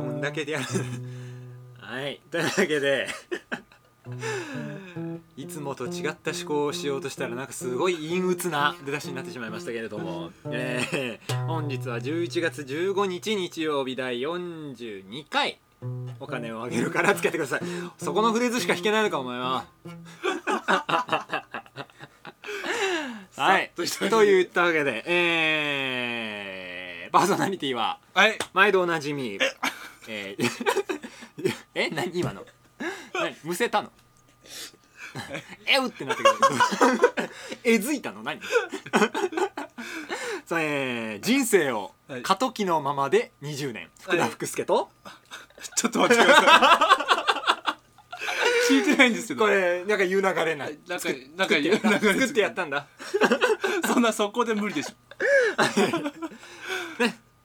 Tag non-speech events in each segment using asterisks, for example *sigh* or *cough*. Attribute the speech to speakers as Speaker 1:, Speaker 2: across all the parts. Speaker 1: んだけでやるはいというわけで *laughs* いつもと違った思考をしようとしたらなんかすごい陰鬱な出だしになってしまいましたけれども、えー本日は11月15日日曜日第42回お金をあげるからつけてくださいそこのフレーズしか弾けないのかお前 *laughs* ははい
Speaker 2: さっとした
Speaker 1: といったわけでえー、パーソナリティは
Speaker 2: はい
Speaker 1: 毎度おなじ
Speaker 2: *laughs*
Speaker 1: みえーえ何今の何むせたの *laughs* えうってなったけど *laughs* えずいたの何 *laughs* さあ、えー人生を
Speaker 2: はい
Speaker 1: 過渡期のままで20年福田福助と、
Speaker 2: ちょっと待ってください聞いてないんですけど
Speaker 1: これなんか言う流れない
Speaker 2: なんかなんか言う
Speaker 1: 作って作ってや
Speaker 2: っ
Speaker 1: ったんだ
Speaker 2: たそんなそこで無理でしょ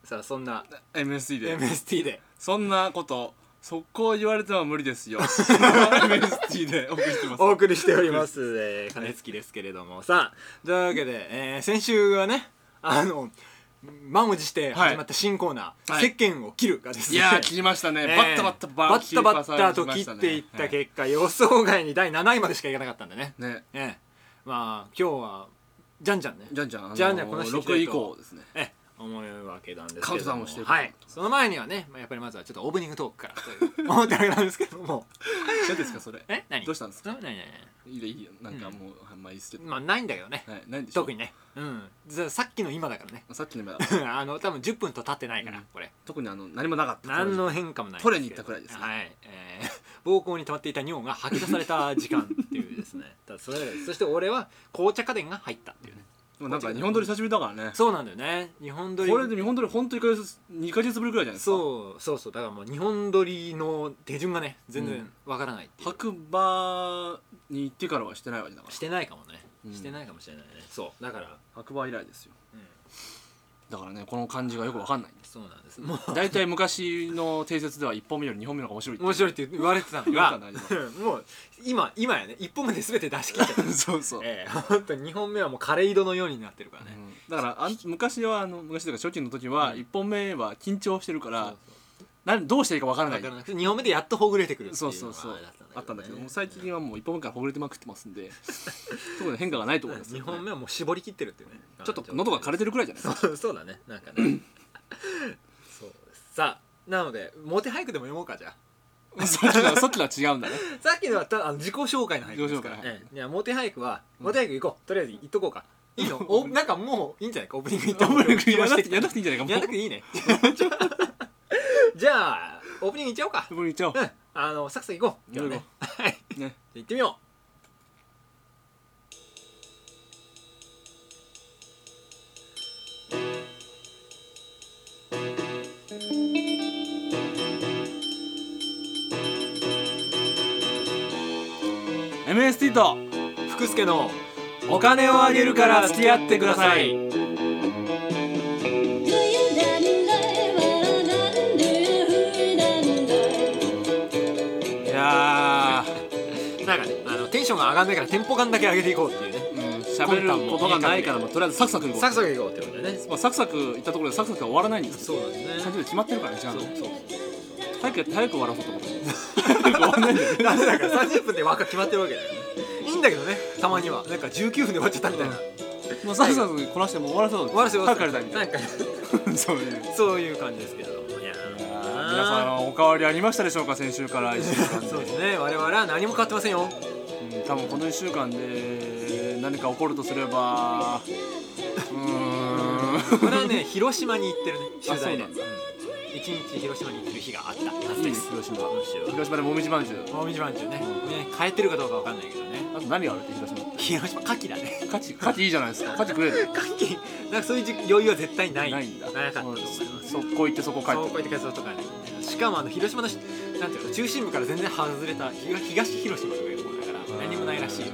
Speaker 1: さあそんな
Speaker 2: MSD で
Speaker 1: MST で
Speaker 2: そんなことそこを言われては無理です
Speaker 1: *laughs*
Speaker 2: よ MSD でお送りしてます
Speaker 1: お送りしております、えー、金月ですけれどもさあというわけで、えー先週はねあの満を持して始まった新コーナー「
Speaker 2: はい
Speaker 1: 石鹸を切る」がです
Speaker 2: い
Speaker 1: ね
Speaker 2: やー切りましたね、
Speaker 1: えー
Speaker 2: バッタバッタバ
Speaker 1: バッタバッタと切っていった
Speaker 2: け
Speaker 1: 結果、予想外に第7位までしかいかなかったんでね
Speaker 2: ね
Speaker 1: ええまあ今日はじゃんじゃんね
Speaker 2: じゃんじゃんあの
Speaker 1: じゃんじゃんこなしていきた
Speaker 2: 6
Speaker 1: い
Speaker 2: 以
Speaker 1: と
Speaker 2: 降ですね
Speaker 1: ええ思うわけなんですけども
Speaker 2: カウントダウンをしていこう
Speaker 1: はいその前にはね、まあ、やっぱりまずはちょっとオープニングトークからという思ってるわけなんですけども
Speaker 2: 何ですかそれ
Speaker 1: え何
Speaker 2: どうしたんですか
Speaker 1: 何何何
Speaker 2: いいよいいよなんかもう、あんまあいいっすけど、
Speaker 1: まあないんだけどね
Speaker 2: はいないんでしょ
Speaker 1: 特にねうんじゃあさっきの今だからね *laughs*
Speaker 2: さっきの今
Speaker 1: あの多分10分と経ってないから、
Speaker 2: うん
Speaker 1: これ
Speaker 2: 特にあの何もなかった
Speaker 1: 何の変化もない
Speaker 2: 取れに行ったくらいですね
Speaker 1: はい、えー、 *laughs* 膀胱に溜まっていた尿が吐き出された時間っていうですね *laughs* ただそれだけですそして俺は紅茶家電が入ったっていうね
Speaker 2: でもなんか日本撮り久しぶりだからね
Speaker 1: そうなんだよね日本撮り
Speaker 2: これで日本撮り本当に2か月ぶりぐらいじゃないですか
Speaker 1: そうそうそうだからもう日本撮りの手順がね全
Speaker 2: う
Speaker 1: 然わからないっていう、
Speaker 2: 白馬に行ってからはしてないわけだから
Speaker 1: してないかもね、
Speaker 2: うん
Speaker 1: してないかもしれないねそうだから、
Speaker 2: 白馬以来ですよ
Speaker 1: うん、
Speaker 2: だからねこの感じがよくわかんないんです
Speaker 1: そうなんですもう
Speaker 2: 大体昔の定説では1本目より2本目の方が面白いって
Speaker 1: 面白いって言われてた *laughs* の
Speaker 2: 言わ
Speaker 1: が
Speaker 2: れ
Speaker 1: もう今今やね一本目で全て出し切っちゃった
Speaker 2: *laughs* そうそう、
Speaker 1: え *laughs* え本当に2本目はもう枯れ井戸のようになってるからね、
Speaker 2: うんだからあん昔はあの昔というか初期の時は
Speaker 1: うん
Speaker 2: 1本目は緊張してるか
Speaker 1: そう
Speaker 2: ら、なんどうしていいかわからな
Speaker 1: だ
Speaker 2: い
Speaker 1: からなくて2本目でやっとほぐれてくるってい
Speaker 2: そううそ
Speaker 1: の
Speaker 2: うそう
Speaker 1: が
Speaker 2: あったんだけど、もう
Speaker 1: ね
Speaker 2: 最近はもう1本目からほぐれてまくってますんで *laughs* 特に変化がないと思います
Speaker 1: 2本目はもう絞り切ってるっていうね
Speaker 2: ちょっと喉が枯れてるくらいじゃないですか
Speaker 1: *laughs* そうそうだねなんかね *laughs* そうですさあなのでモテ俳句でも読もうかじゃあ
Speaker 2: さっきのはさっきのは違うんだね *laughs*
Speaker 1: さっきのはたあの自己紹介の俳句ですから、
Speaker 2: 自己紹介
Speaker 1: ええいやモテ俳句はモテ俳句行こうとりあえず行っとこうかいいのおなんかもういいんじゃないかオープニング行っ
Speaker 2: オ
Speaker 1: た
Speaker 2: ープニン *laughs* グやらなくて
Speaker 1: や
Speaker 2: や
Speaker 1: ん
Speaker 2: ん
Speaker 1: な
Speaker 2: な
Speaker 1: く
Speaker 2: くていいんじゃないかもう *laughs*
Speaker 1: ていいね *laughs* じゃあオープニング行っちゃおうか
Speaker 2: オープニングいっちゃおう
Speaker 1: うんあのサクサク行こう
Speaker 2: 行こう
Speaker 1: 今日はねはい
Speaker 2: ね
Speaker 1: 行ってみよ
Speaker 2: 「MST と
Speaker 1: う福助の
Speaker 2: お金をあげるから付き合ってください」
Speaker 3: Do you not love? Do you not love?
Speaker 2: いや
Speaker 1: なんかねあのテンションが上がんないからテンポ感だけ上げていこうっていうね
Speaker 2: ー、うん、喋ることがないからもうとりあえずサクサクいこう
Speaker 1: サクサクいこうってことでね
Speaker 2: まあ、サクサクいったところでサクサクは終わらないんですけど
Speaker 1: そうなんです
Speaker 2: 30
Speaker 1: ね
Speaker 2: で決まってるからね時間
Speaker 1: そう
Speaker 2: が
Speaker 1: そう
Speaker 2: 早くやって早く終わらそうと思って終わんないんだよね
Speaker 1: ダメだから30分で枠決まってるわけだよねいいんだけどねたまにはなんか19分で終わっちゃったみたいな、
Speaker 2: もうサクサクこなしてもう終わらそうだ
Speaker 1: 終わらせよう
Speaker 2: 早く帰りたいみた
Speaker 1: ないんか
Speaker 2: なそういう
Speaker 1: そういう感じですけどいやー
Speaker 2: 皆さんあのお変わりありましたでしょうか先週から1週間で
Speaker 1: そうですね我々は何も変わってませんよ
Speaker 2: うん多分この1週間で何か起こるとすればう *laughs* ーん
Speaker 1: これはね広島に行ってるね取材で
Speaker 2: あそうなんだ
Speaker 1: うん一日広島に行ってる日があったはず
Speaker 2: いい
Speaker 1: で
Speaker 2: ですす広島
Speaker 1: 今週は
Speaker 2: 広島でもみじまんじゅう
Speaker 1: 大道まんじゅうねね変えてるかどうかわかんないけどね
Speaker 2: あと何があるって広島って
Speaker 1: 広島牡蠣だね
Speaker 2: カチカチいいじゃないですかカチくれる
Speaker 1: 牡蠣なんかそういう余裕は絶対ない
Speaker 2: ないんだ
Speaker 1: なかったと思います
Speaker 2: そこ行ってそこ帰
Speaker 1: そうこ
Speaker 2: っ
Speaker 1: う
Speaker 2: て
Speaker 1: やって活動とかねしかもあの広島のしなんていうの中心部から全然外れた東東広島とかいう方だから何もないらしい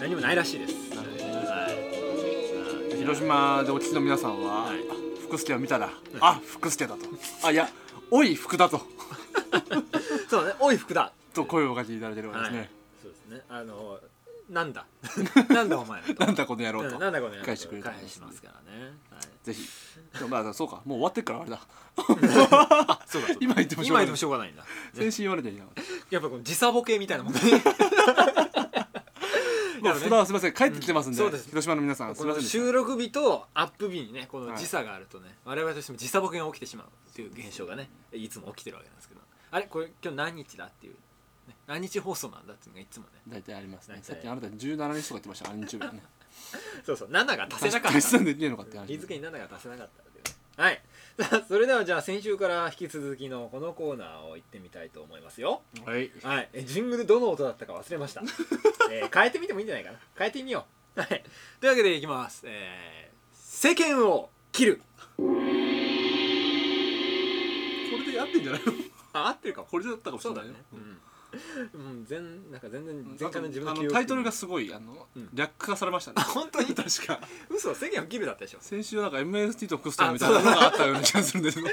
Speaker 1: 何もないらしいです
Speaker 2: なるほど
Speaker 1: はい
Speaker 2: 広島でお聞きの皆さんは、
Speaker 1: はい
Speaker 2: あ福助を見たら、あ福助だとあいやおい福だと *laughs*
Speaker 1: そうねおい福田
Speaker 2: と声をかけていただいてるわけですね、
Speaker 1: そうですねあのなんだ *laughs* なんだお前らと
Speaker 2: なんだこの野郎
Speaker 1: うん
Speaker 2: と
Speaker 1: なんだこの野郎と
Speaker 2: 返してくれた
Speaker 1: 返しますからね、はい
Speaker 2: ぜひでもまあそうかもう終わってっからあれだ
Speaker 1: あそうだそうだ
Speaker 2: 今言ってもしょう
Speaker 1: 今
Speaker 2: が
Speaker 1: 言っ
Speaker 2: ない
Speaker 1: てもしょうがないんだ
Speaker 2: 先週言われていなかった
Speaker 1: やっぱこの時差ボケみたいなもんね
Speaker 2: *laughs* まあ
Speaker 1: ね
Speaker 2: 普段はすみません帰ってきてますんで,、
Speaker 1: うんそうです
Speaker 2: 広島の皆さんす
Speaker 1: こ
Speaker 2: みませ
Speaker 1: の
Speaker 2: んでした
Speaker 1: 収録日とアップ日にねこの
Speaker 2: はい
Speaker 1: 時差があるとね、我々としても時差ボケが起きてしまうっていう現象がねいつも起きてるわけなんですけどあれこれ今日何日だっていう、ね、何日放送なんだっていうのがいつもね
Speaker 2: 大体ありますね
Speaker 1: 大体
Speaker 2: さっきあなた17日とか言ってましたあれ日曜日ね
Speaker 1: そうそう7が足せ
Speaker 2: *laughs*
Speaker 1: なかっ
Speaker 2: 足した算できねえのかって話
Speaker 1: 日付に7が足せなかったわけねはい *laughs* さあそれではじゃあ先週から引き続きのこのコーナーを行ってみたいと思いますよ
Speaker 2: はい
Speaker 1: はい、えジングルどの音だったか忘れま
Speaker 2: *laughs*
Speaker 1: した、えー変えてみてもいいんじゃないかな変えてみようはいというわけでいきます、えー世間を切る
Speaker 2: これでやってんじゃないの
Speaker 1: あ合ってるかも
Speaker 2: これだったかもし
Speaker 1: そ
Speaker 2: れ
Speaker 1: うだ
Speaker 2: ない
Speaker 1: ね
Speaker 2: よ、
Speaker 1: うん、うん、全なんか全然前回
Speaker 2: 前回
Speaker 1: の
Speaker 2: の
Speaker 1: 自
Speaker 2: 自
Speaker 1: 分の
Speaker 2: 分の
Speaker 1: 記憶
Speaker 2: タイトルがすごいあの、
Speaker 1: うん
Speaker 2: 略化されました
Speaker 1: *laughs*
Speaker 2: ね
Speaker 1: あ *laughs* 本当に
Speaker 2: 確か
Speaker 1: 嘘世間を切るだったでしょ
Speaker 2: 先週はなんか MST とクストンみたいなのがあったような気がする
Speaker 1: *laughs*
Speaker 2: んですけど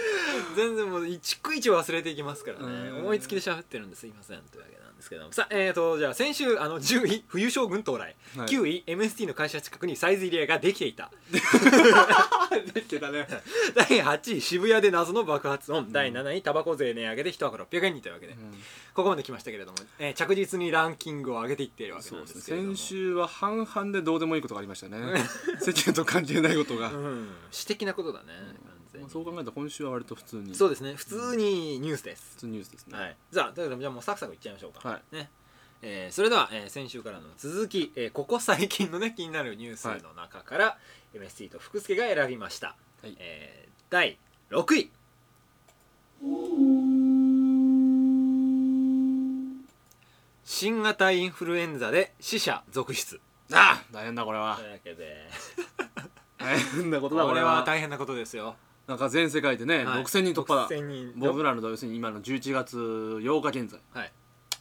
Speaker 1: 全然もう一句一句忘れていきますからね
Speaker 2: うん
Speaker 1: 思いつきで喋ってるんですいませんというわけなんですけどもさあえーとじゃあ先週あの10位冬将軍到来、
Speaker 2: はい
Speaker 1: 9位 MST の会社近くにサイズ入れができていた *laughs*
Speaker 2: できてたね
Speaker 1: 第8位渋谷で謎の爆発音、第7位タバコ税値上げで1箱600円にというわけで、ここまで来ましたけれども、えー着実にランキングを上げていっているわけ
Speaker 2: そ
Speaker 1: な
Speaker 2: うんで
Speaker 1: ですす
Speaker 2: ね
Speaker 1: けれども
Speaker 2: 先週は半々でどうでもいいことがありましたね
Speaker 1: *laughs*
Speaker 2: 世間と関係ないことが、
Speaker 1: う
Speaker 2: ま
Speaker 1: ん私的なことだね、完全
Speaker 2: あ
Speaker 1: に
Speaker 2: そう考えたら今週は割と普通に
Speaker 1: そうですね普通にニュースです
Speaker 2: 普、通ニュースですね、
Speaker 1: はい、じゃあということでじゃあもうサクサクいっちゃいましょうか、
Speaker 2: はい
Speaker 1: ねえーそれでは、えー先週からの続き、えーここ最近のね気になるニュースの中から、MST と福助が選びました、
Speaker 2: はい
Speaker 1: えー第6位新型インフルエンザで死者続出
Speaker 2: ああ大変だこれは
Speaker 1: というわけで
Speaker 2: 大変なことだ
Speaker 1: こ
Speaker 2: これ
Speaker 1: れは
Speaker 2: は
Speaker 1: 大変なことですよ、
Speaker 2: なんか全世界でね、
Speaker 1: はい
Speaker 2: 6000人突破だ
Speaker 1: 6000人
Speaker 2: 僕らの要するに今の11月8日現在
Speaker 1: はい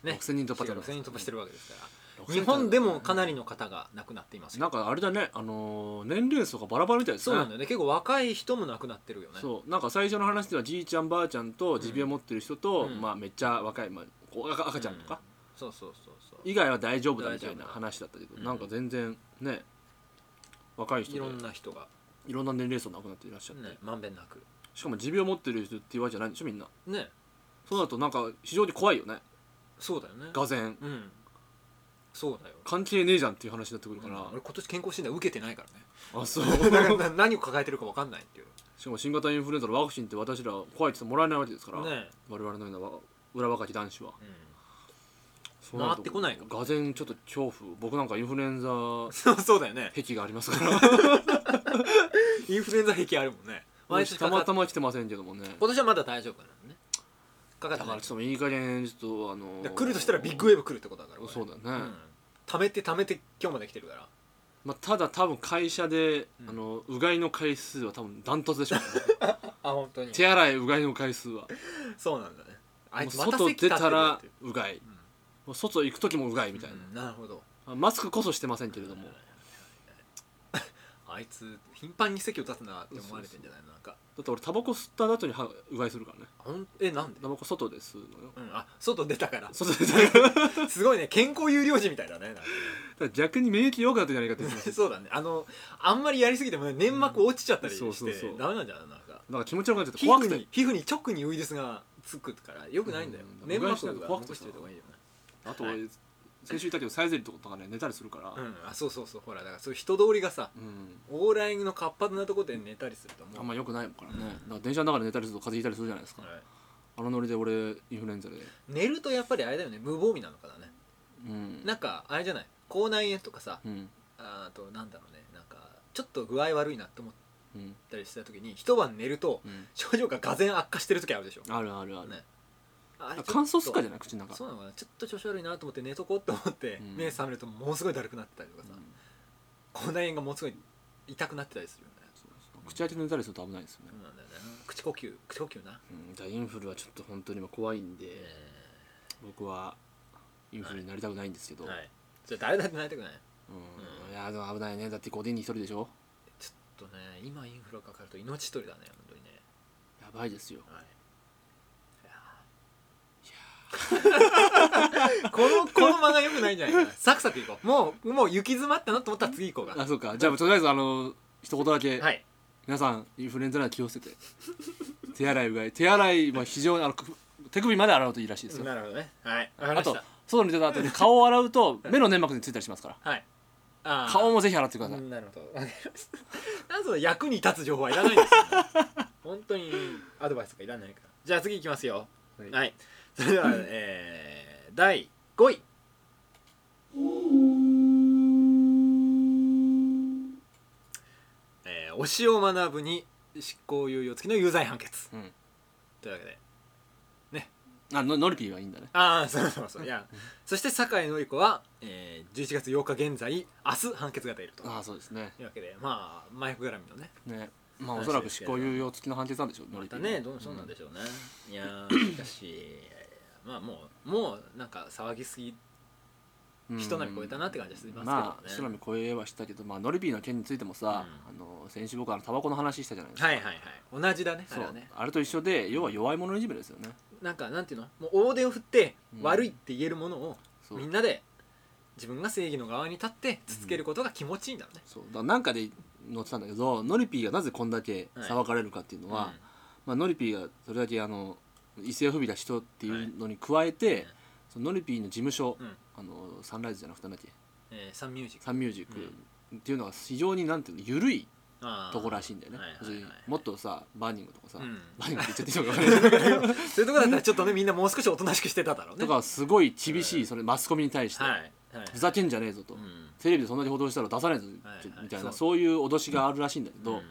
Speaker 2: 6000人突破ってことです
Speaker 1: 6000人突破してるわけですから
Speaker 2: 6000
Speaker 1: 日本でもかなりの方が亡くなっていますよ
Speaker 2: なんかあれだねあのー年齢層がバラバラみたいです
Speaker 1: そう
Speaker 2: ね
Speaker 1: なんだよね結構若い人も亡くなってるよね
Speaker 2: そうなんか最初の話ではじいちゃんばあちゃんと持病持ってる人と、
Speaker 1: うん
Speaker 2: まあめっちゃ若い、まあ、こう赤赤ちゃんとか、
Speaker 1: そうそうそうそう
Speaker 2: 以外は大丈夫だみたい
Speaker 1: 大丈
Speaker 2: な
Speaker 1: 夫だ
Speaker 2: 話だったけど、
Speaker 1: うん
Speaker 2: なんか全然ね若い人
Speaker 1: い
Speaker 2: でい
Speaker 1: ろん
Speaker 2: ろ
Speaker 1: な人が
Speaker 2: んな年齢層なくなっていらっしゃって、
Speaker 1: ねまんべんなく
Speaker 2: しかも持病持ってる人っていうわけじゃないんでしょみんな
Speaker 1: ね
Speaker 2: そうだとなんか非常に怖いよね
Speaker 1: そうだよね
Speaker 2: がぜ
Speaker 1: うんそうだよ
Speaker 2: 関係ねえじゃんっていう話になってくる
Speaker 1: う
Speaker 2: か
Speaker 1: ん
Speaker 2: ら、
Speaker 1: 俺今年健康診断受けてないからね
Speaker 2: あ
Speaker 1: *laughs*
Speaker 2: そう
Speaker 1: だから何を抱えてるか分かんないっていう
Speaker 2: しかも新型インフルエンザのワクチンって私ら怖いって言ってもらえないわけですか
Speaker 1: *laughs*
Speaker 2: ら、
Speaker 1: ね
Speaker 2: 我々のようなわ裏若き男子は
Speaker 1: うん
Speaker 2: そうなる
Speaker 1: 回
Speaker 2: と
Speaker 1: ってこないの
Speaker 2: がぜんちょっと恐怖僕なんかインフルエンザ
Speaker 1: そうそうだよね
Speaker 2: 癖がありますから
Speaker 1: インフルエンザ壁あるもんね *laughs* 毎年か
Speaker 2: た
Speaker 1: か
Speaker 2: ま
Speaker 1: った
Speaker 2: たま来てませんけどもね
Speaker 1: 今年はまだ大丈夫なのねかかっ
Speaker 2: だ
Speaker 1: て
Speaker 2: か
Speaker 1: な
Speaker 2: ら
Speaker 1: い
Speaker 2: ちょっといい加減ちょっとあの
Speaker 1: だから来るとしたらビッグウェーブ来るってことだからこれ
Speaker 2: そうだよね、
Speaker 1: うん溜めて溜めて今日まで来てるから
Speaker 2: まあ、ただ多分会社で、
Speaker 1: うん
Speaker 2: あのうがいの回数は多分ダントツでし
Speaker 1: *laughs*
Speaker 2: ょうね
Speaker 1: あ本当に
Speaker 2: 手洗いうがいの回数は
Speaker 1: そうなんだねあいつ
Speaker 2: も
Speaker 1: ま
Speaker 2: う
Speaker 1: た
Speaker 2: 外
Speaker 1: 席立
Speaker 2: 出
Speaker 1: って
Speaker 2: た
Speaker 1: るよっ
Speaker 2: ら
Speaker 1: て
Speaker 2: うがい、
Speaker 1: ん
Speaker 2: もう外行く時もうがいみたいな、
Speaker 1: うんなるほど
Speaker 2: まあマスクこそしてませんけれども、だ
Speaker 1: あいつ頻繁に席を立つなって思われてんじゃないのなんか
Speaker 2: って俺タバコ吸った後に歯うがいするからね
Speaker 1: ほんえなんで
Speaker 2: タバコ外で吸うのよ
Speaker 1: うんあ外出たから
Speaker 2: 外で *laughs* 吸うだ
Speaker 1: *laughs*
Speaker 2: か
Speaker 1: すごいね健康有料児みたいだねなんかね
Speaker 2: ら逆に免疫弱くなってんじゃないかって言ってます
Speaker 1: *laughs* そうだねあのあんまりやりすぎてもね粘膜落ちちゃったり
Speaker 2: う
Speaker 1: し
Speaker 2: んそうそうそ
Speaker 1: て
Speaker 2: う
Speaker 1: ダメなんじゃないなんか
Speaker 2: なんか気持ち悪くなっちゃって
Speaker 1: 皮
Speaker 2: 怖
Speaker 1: 膚
Speaker 2: くて
Speaker 1: に皮膚に直にウイルスがつくからよくないんだよ
Speaker 2: うん
Speaker 1: 粘膜
Speaker 2: うがいしない
Speaker 1: が
Speaker 2: と怖くて
Speaker 1: 残しておいた方がいいよね
Speaker 2: あと、
Speaker 1: はい
Speaker 2: 先週言ったけどサイゼリとかがね寝たりするから、
Speaker 1: うんあそうそうそうほらだからそういう人通りがさ
Speaker 2: うん
Speaker 1: 往来の活発なとこで寝たりすると
Speaker 2: あ
Speaker 1: 思
Speaker 2: ん
Speaker 1: う
Speaker 2: ま良くないからね、だから電車の中で寝たりすると風邪ひいたりするじゃないですか、
Speaker 1: はい
Speaker 2: あのノリで俺インフルエンザで
Speaker 1: 寝るとやっぱりあれだよね無防備なのかだね
Speaker 2: うん
Speaker 1: なんかあれじゃない口内炎とかさ
Speaker 2: うん
Speaker 1: あとなんだろうねなんかちょっと具合悪いなと思っ
Speaker 2: うん
Speaker 1: たりした時に一晩寝ると
Speaker 2: うん
Speaker 1: 症状ががぜん悪化してる時あるでしょ
Speaker 2: あるあるある、
Speaker 1: ねあれ
Speaker 2: あ乾燥すっかじゃ
Speaker 1: な
Speaker 2: ない口の中
Speaker 1: そうなのかなちょっと調子悪いなと思って寝とこうと思って
Speaker 2: うん
Speaker 1: 目覚めるとものすごいだるくなってたりとかさ
Speaker 2: うん
Speaker 1: 口内炎がものすごい痛くなってたりするよね
Speaker 2: そうそう口開けて寝たりすると危ないですよね
Speaker 1: そう、なんだよね口呼吸口呼吸な
Speaker 2: うん、だからインフルはちょっと本当に今怖いんで、僕はインフルになりたくないんですけど、
Speaker 1: はいじゃあ誰だってなりたくない
Speaker 2: うんいやでも危ないねだって5人に1人でしょ
Speaker 1: ちょっとね今インフルかかると命取りだね本当にね
Speaker 2: やばいですよ
Speaker 1: はい *laughs* このこの間が良くないんじゃないかなサクサクいこうもうもう行き詰まったなと思ったら次行こうか
Speaker 2: あそうかじゃあとりあえずあの一言だけ、
Speaker 1: はい
Speaker 2: 皆さんインフルエンザなら気をつけて *laughs* 手洗いうがい手洗いは非常にあのく手首まで洗うといいらしいですよ
Speaker 1: なるほどねはいわかり
Speaker 2: あ
Speaker 1: まし
Speaker 2: と
Speaker 1: た
Speaker 2: 外に出た後に顔を洗
Speaker 1: *laughs*
Speaker 2: うと目の粘膜についたりしますから
Speaker 1: はいあー
Speaker 2: 顔もぜひ洗ってください、
Speaker 1: うんなるほどわかり *laughs* ましたなんその役に立つ情報はいらないですよ、ね、本当にアドバイスとかいらないからじゃあ次いきますよはい、それでは、えー、第5位えー、推しを学ぶに執行猶予付きの有罪判決
Speaker 2: うん
Speaker 1: というわけで
Speaker 2: あのノリピーはいいんだね
Speaker 1: ああそうそうそういやそして酒井紀子は、えー、11月8日現在明日判決が出ると
Speaker 2: ああそうですね
Speaker 1: というわけでまあ麻薬絡みのね
Speaker 2: ねまあおそらく執行猶予付きの判決なんでしょうノ
Speaker 1: ま
Speaker 2: リピ
Speaker 1: た
Speaker 2: ー
Speaker 1: ねどうそうなんでしょうね、いやーしかしまあもうもうなんか騒ぎすぎ
Speaker 2: うん
Speaker 1: 人並み超えたなって感じがしますけどね
Speaker 2: まあ人並み超えはしたけどまあノリピーの件についてもさ、あの先週僕はあのタバコの話したじゃないですか、
Speaker 1: はいはいはい同じだねあ
Speaker 2: そ
Speaker 1: れ
Speaker 2: う
Speaker 1: は
Speaker 2: あ,、
Speaker 1: ね
Speaker 2: れと一緒で要は弱い者いじめですよね
Speaker 1: なんかなんていうのもう大手を振って
Speaker 2: うん
Speaker 1: 悪いって言えるものを
Speaker 2: そう
Speaker 1: みんなで自分が正義の側に立って続けることが気持ちいいんだろうね、
Speaker 2: そうだからなんかで載ってたんだけどノリピーがなぜこんだけ騒がれるかっていうのは、まあ、ノリピーがそれだけあの一世を不備だ人っていうのに加えて、
Speaker 1: い
Speaker 2: そのノリピーの事務所、
Speaker 1: うん
Speaker 2: あのサンライズじゃなくてなんだっけ
Speaker 1: うんえーサンミュージック
Speaker 2: サンミュージックっていうのは非常になんていうの緩い
Speaker 1: あー
Speaker 2: と
Speaker 1: *laughs*
Speaker 2: こらしいんだよね、
Speaker 1: はいはいはい
Speaker 2: そういうもっとさバーニングとかさ、
Speaker 1: うん
Speaker 2: バーニングって言っちゃっていい
Speaker 1: *laughs*
Speaker 2: のか分かんないけど
Speaker 1: そういうとこだったらちょっとねみんなもう少しおとなしくしてただろうね
Speaker 2: とかすごい厳しいそれマスコミに対して、
Speaker 1: はいはい
Speaker 2: ふざけんじゃねえぞと、
Speaker 1: うん
Speaker 2: テレビでそんなに報道したら出さねえぞ
Speaker 1: はいはい
Speaker 2: みたいな、
Speaker 1: そう
Speaker 2: そういう脅しがあるらしいんだけ
Speaker 1: う
Speaker 2: ど、
Speaker 1: ん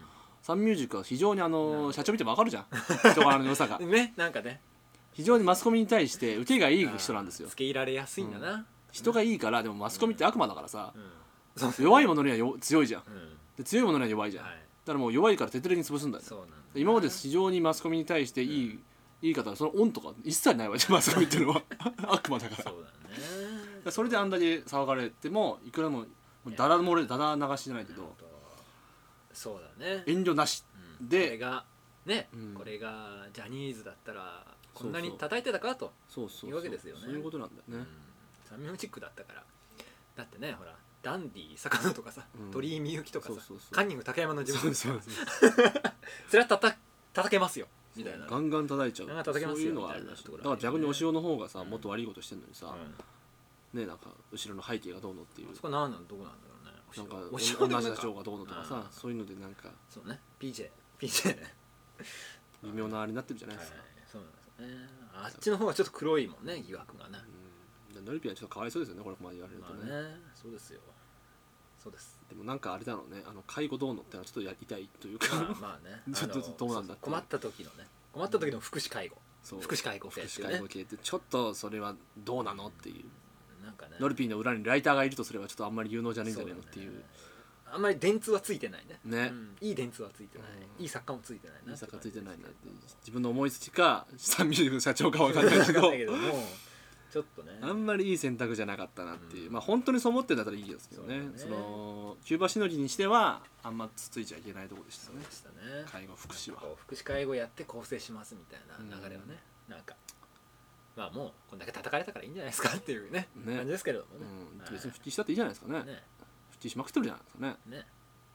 Speaker 2: サンミュージックは非常にあ
Speaker 1: う
Speaker 2: の
Speaker 1: ん
Speaker 2: 社長見ても分かるじゃん *laughs* 人柄の良さ *laughs* が
Speaker 1: ねなんかね
Speaker 2: 非常にマスコミに対して受けがいい人なんですよ
Speaker 1: つけ入れられやすいんだな、
Speaker 2: 人がいいからでもマスコミって悪魔だからさ
Speaker 1: うんそうそう
Speaker 2: *laughs* 弱いものにはよ強いじゃん
Speaker 1: うん
Speaker 2: で強いものには弱いじゃんだ
Speaker 1: は
Speaker 2: か
Speaker 1: い
Speaker 2: らもう弱いから徹底的に潰すんだよ
Speaker 1: そうなんだ
Speaker 2: 今まで非常にマスコミに対していいいい方はそのオンとか一切ないわけじゃ *laughs* んマスコミっていうのは悪魔だからだ
Speaker 1: そう
Speaker 2: か
Speaker 1: だね
Speaker 2: らそれであんだけ騒がれてもいくらでももうダダ漏れダダ流しじゃないけど
Speaker 1: そうだね
Speaker 2: 遠慮なし
Speaker 1: うん
Speaker 2: で
Speaker 1: これがね、
Speaker 2: うん
Speaker 1: これがジャニーズだったら
Speaker 2: そうそ
Speaker 1: こ
Speaker 2: うん
Speaker 1: なに叩いてたかと
Speaker 2: そうそうそう
Speaker 1: いうわけですよね
Speaker 2: そういうことなんだよ
Speaker 1: う
Speaker 2: ね
Speaker 1: んサンミュージックだったからだってねほらダンディ坂野とかさ、
Speaker 2: うん
Speaker 1: 鳥居みゆきとかさ
Speaker 2: そうそうそう
Speaker 1: カンニング竹山の自
Speaker 2: そ
Speaker 1: 分
Speaker 2: うそうそう
Speaker 1: それは叩叩けますよみたいな
Speaker 2: ガンガン叩いちゃう
Speaker 1: ガンガン叩けます
Speaker 2: そう
Speaker 1: よ
Speaker 2: いうのはあるらしい
Speaker 1: みたいな
Speaker 2: だから逆にお塩の方がさもっと悪いことしてんのにさ、
Speaker 1: うん
Speaker 2: ねなんか後ろの背景がどうのっていう
Speaker 1: そこ何なんどこなんだろうね
Speaker 2: なんか
Speaker 1: お
Speaker 2: 同
Speaker 1: し
Speaker 2: じ
Speaker 1: おでもなん
Speaker 2: 社
Speaker 1: か
Speaker 2: 長がどうのとかさ
Speaker 1: あー
Speaker 2: そういうのでなんか
Speaker 1: そうね PJ PJ ね
Speaker 2: 微妙なあれになってるじゃない
Speaker 1: はい
Speaker 2: ですか、
Speaker 1: そうなんですねあっちの方がちょっと黒いもんね疑惑がね
Speaker 2: うん、ノリピーはちょっとかわいそうですよねこれまで言われる
Speaker 1: ま
Speaker 2: と
Speaker 1: あ
Speaker 2: ね,、
Speaker 1: ねそうですよそう
Speaker 2: *laughs*
Speaker 1: です
Speaker 2: でもなんかあれだろうねあの介護どうのってのはちょっとやりたいというか、
Speaker 1: まあまあね
Speaker 2: *laughs* ちょっと
Speaker 1: あの
Speaker 2: どうなんだっていう
Speaker 1: 困った時のね困った時の福祉介護
Speaker 2: そう
Speaker 1: 福祉介護フェって
Speaker 2: 福
Speaker 1: い
Speaker 2: 祉
Speaker 1: う
Speaker 2: 介
Speaker 1: ね
Speaker 2: 護系ってちょっとそれはどうなのっていう、
Speaker 1: なんかね
Speaker 2: ノリピーの裏にライターがいるとすればちょっとあんまり有能じゃねえんじゃねえのっていう
Speaker 1: そだねあんまり電通はついてないね
Speaker 2: ね
Speaker 1: うんいい電通はついてない
Speaker 2: うん
Speaker 1: いい作家もついてないな
Speaker 2: 印刷がついてないなっ
Speaker 1: って
Speaker 2: 自分の思いつきか三ミリの社長かわかん
Speaker 1: て
Speaker 2: ないけ
Speaker 1: 感じですけどわかんな
Speaker 2: ど
Speaker 1: いけど *laughs* も
Speaker 2: *laughs*
Speaker 1: ちょっとね
Speaker 2: あんまりいい選択じゃなかったなっていう、
Speaker 1: うん
Speaker 2: まあ本当にそう思ってんだったらいいですけどね
Speaker 1: そ
Speaker 2: そう
Speaker 1: だね
Speaker 2: のキューバしのぎにしてはあんまつついちゃいけないところでした
Speaker 1: そう
Speaker 2: ね
Speaker 1: でしたね
Speaker 2: 介護福祉は
Speaker 1: こう福祉介護やって更生しますみたいな流れをね、なんかまあもうこんだけ叩かれたからいいんじゃないですかっていうね
Speaker 2: ね
Speaker 1: 感じですけれどもね、
Speaker 2: うん、別に復帰したっていいじゃないですかね
Speaker 1: ね
Speaker 2: 復帰しまくってるじゃないですかね
Speaker 1: ね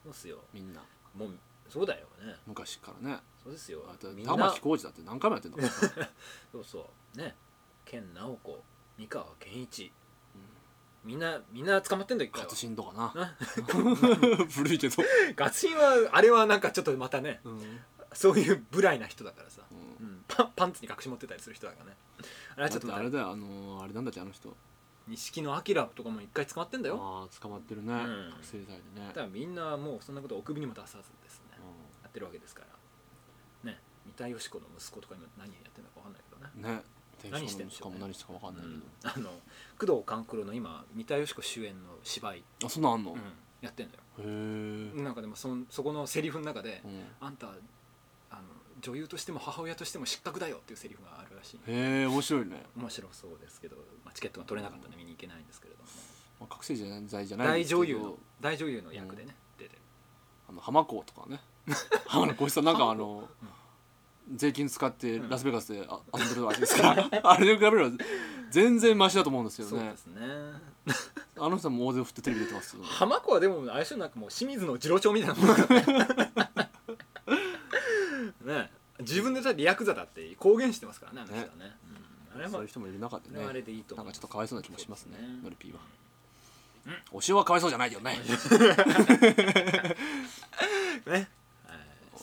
Speaker 1: そうっすよ
Speaker 2: みんな
Speaker 1: もうそうだよね
Speaker 2: 昔からね
Speaker 1: そうですよ
Speaker 2: あと
Speaker 1: みん
Speaker 2: 玉
Speaker 1: な
Speaker 2: 置浩二だって何回もやってんだからさ
Speaker 1: そうそうね健直子三河健一、みんなみんな捕まってんだよ
Speaker 2: 勝新と
Speaker 1: *laughs*
Speaker 2: かな
Speaker 1: な
Speaker 2: 古いけど、
Speaker 1: ガツシンはあれはなんかちょっとまたね
Speaker 2: うんうん
Speaker 1: そういう無頼な人だからさ、うん、パンパンツに隠し持ってたりする人だからねあれはち
Speaker 2: だ
Speaker 1: ょっ
Speaker 2: っ
Speaker 1: と
Speaker 2: てあれだよあのーあれなんだっけあの人
Speaker 1: 錦野明とかも一回捕まってんだよ
Speaker 2: ああ捕まってるね、
Speaker 1: ん
Speaker 2: 覚醒剤でね
Speaker 1: ただみんなもうそんなことお首にも出さずですね
Speaker 2: う
Speaker 1: やってるわけですからね三田佳子の息子とか今何やってるのか分かんないけどね
Speaker 2: んね
Speaker 1: 何してんで
Speaker 2: し
Speaker 1: し
Speaker 2: か
Speaker 1: ょう
Speaker 2: も
Speaker 1: ね
Speaker 2: 何したか分かんないけど、
Speaker 1: あの工藤官九郎の今三田佳子主演の芝居、
Speaker 2: あそんなんあんの、
Speaker 1: うんやってんだよ
Speaker 2: へえ、
Speaker 1: なんかでもそんそこのセリフの中で
Speaker 2: うん
Speaker 1: 「あんたあの女優としても母親としても失格だよ」っていうセリフがあるらしい
Speaker 2: へえ面白いね、
Speaker 1: 面白そうですけど、まあ、チケットが取れなかったんで見に行けないんですけれども
Speaker 2: まあ、覚醒剤じゃない
Speaker 1: 大
Speaker 2: ですけど
Speaker 1: 女優の大女優の役でね出てる
Speaker 2: *laughs* あの浜子とかね浜野浩一さんなんかあの
Speaker 1: うん
Speaker 2: 税金使ってラスベガスであ遊んでるわけですから *laughs* あれに比べれば全然マシだと思うんですよ
Speaker 1: そう
Speaker 2: ね
Speaker 1: ですね
Speaker 2: あの人も大勢振ってテレビ出てますよ
Speaker 1: 浜子はでも相性なんかもう清水の次郎長みたいなもんだね
Speaker 2: *laughs*
Speaker 1: ね自分でだってヤクザだって公言してますからねあの人はねうんあれはま
Speaker 2: そ
Speaker 1: あ
Speaker 2: ういう人もいる中で
Speaker 1: あれはあれ
Speaker 2: ね
Speaker 1: でいいと
Speaker 2: な
Speaker 1: 思う
Speaker 2: んかちょっとかわいそうな気もしますね
Speaker 1: そうですね
Speaker 2: ノリピーはお塩はかわいそうじゃないけどね
Speaker 1: ねはい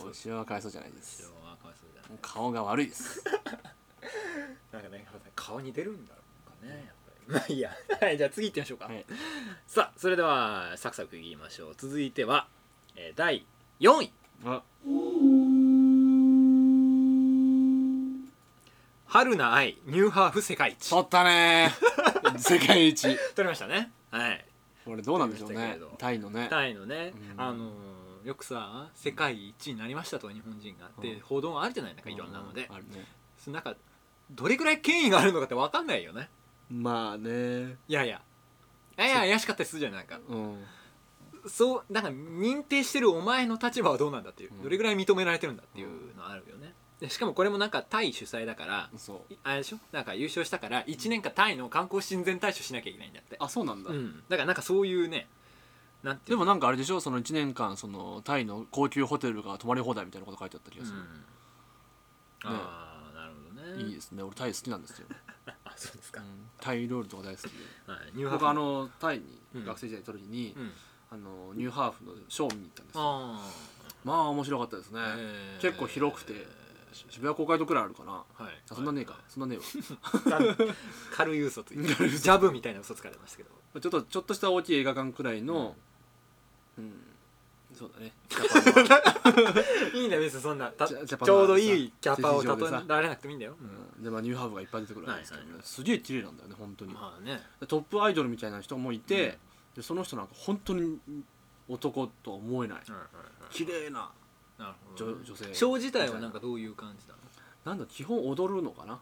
Speaker 2: お塩はかわいそうじゃないで
Speaker 1: 次
Speaker 2: す
Speaker 1: 郎はかわいそうだね
Speaker 2: 顔が悪いです
Speaker 1: なんかね顔に出るんだろうかねやっぱりまあいいやはいじゃあ次行ってみましょうか、
Speaker 2: はい
Speaker 1: さあそれではサクサクいきましょう続いては、えー第4位
Speaker 2: あ
Speaker 1: 春菜愛ニューハーフ世界一
Speaker 2: 取ったね *laughs* 世界一
Speaker 1: 取りましたねはい
Speaker 2: これどうなんでしょう
Speaker 1: 取りました
Speaker 2: ね
Speaker 1: けれど
Speaker 2: タイのね
Speaker 1: タイのね、
Speaker 2: うん
Speaker 1: あのーよくさ世界一になりましたと日本人がって、
Speaker 2: うん
Speaker 1: 報道あるじゃないなんかいろんなので、
Speaker 2: あるね
Speaker 1: そのなんかどれくらい権威があるのかって分かんないよね
Speaker 2: まあね
Speaker 1: いやいやいやいや怪しかったりするじゃんないなんか
Speaker 2: うん
Speaker 1: そうなんか認定してるお前の立場はどうなんだっていう、
Speaker 2: うん
Speaker 1: どれぐらい認められてるんだっていうのあるよね、でしかもこれもなんかタイ主催だから
Speaker 2: そう
Speaker 1: いあれでしょなんか優勝したから1年間タイの観光親善大使をしなきゃいけないんだって
Speaker 2: あそうなんだ
Speaker 1: うん、だからなんかそういうねなんてい
Speaker 2: で
Speaker 1: うの
Speaker 2: もなんかあれでしょその1年間そのタイの高級ホテルが泊まり放題みたいなこと書いてあった気がす
Speaker 1: う
Speaker 2: る、
Speaker 1: んああなるほどね
Speaker 2: いいですね俺タイ好きなんですよ、
Speaker 1: あそうです
Speaker 2: う
Speaker 1: か、
Speaker 2: んタイ料理とか大好きで
Speaker 1: はい、入
Speaker 2: 僕あ
Speaker 1: の、
Speaker 2: のタイに
Speaker 1: うん
Speaker 2: 学生時代に取る時に、
Speaker 1: うん、
Speaker 2: あのニューハーフのショーを見に行ったんですよ
Speaker 1: あ
Speaker 2: まあ面白かったですね、
Speaker 1: あ、
Speaker 2: 結構広くて渋谷公会堂くらいあるかな
Speaker 1: はい
Speaker 2: あそんなねえか、そんなねえわ
Speaker 1: 軽い嘘ついてるジャブみたいな嘘つかれましたけど
Speaker 2: ちょっとちょっとした大きい映画館くらいのうん、そう
Speaker 1: *laughs*
Speaker 2: だね
Speaker 1: *laughs* いいんだよ別にそんなた
Speaker 2: ジャジャパン
Speaker 1: ちょうどいいキャパを
Speaker 2: 駐車場でさ
Speaker 1: 例えられなくてもいいんだよ、
Speaker 2: でまあニューハーフがいっぱい出てくるわけですけどね、
Speaker 1: はいは
Speaker 2: すげえ綺麗なんだよね本当に、
Speaker 1: まあね
Speaker 2: でトップアイドルみたいな人もいて、でその人なんか本当に男とは思えない綺麗な
Speaker 1: なるほ
Speaker 2: 女
Speaker 1: ど
Speaker 2: 女性
Speaker 1: ショー自体はなんかどういう感じなの
Speaker 2: なんだ基本踊るのかな
Speaker 1: あ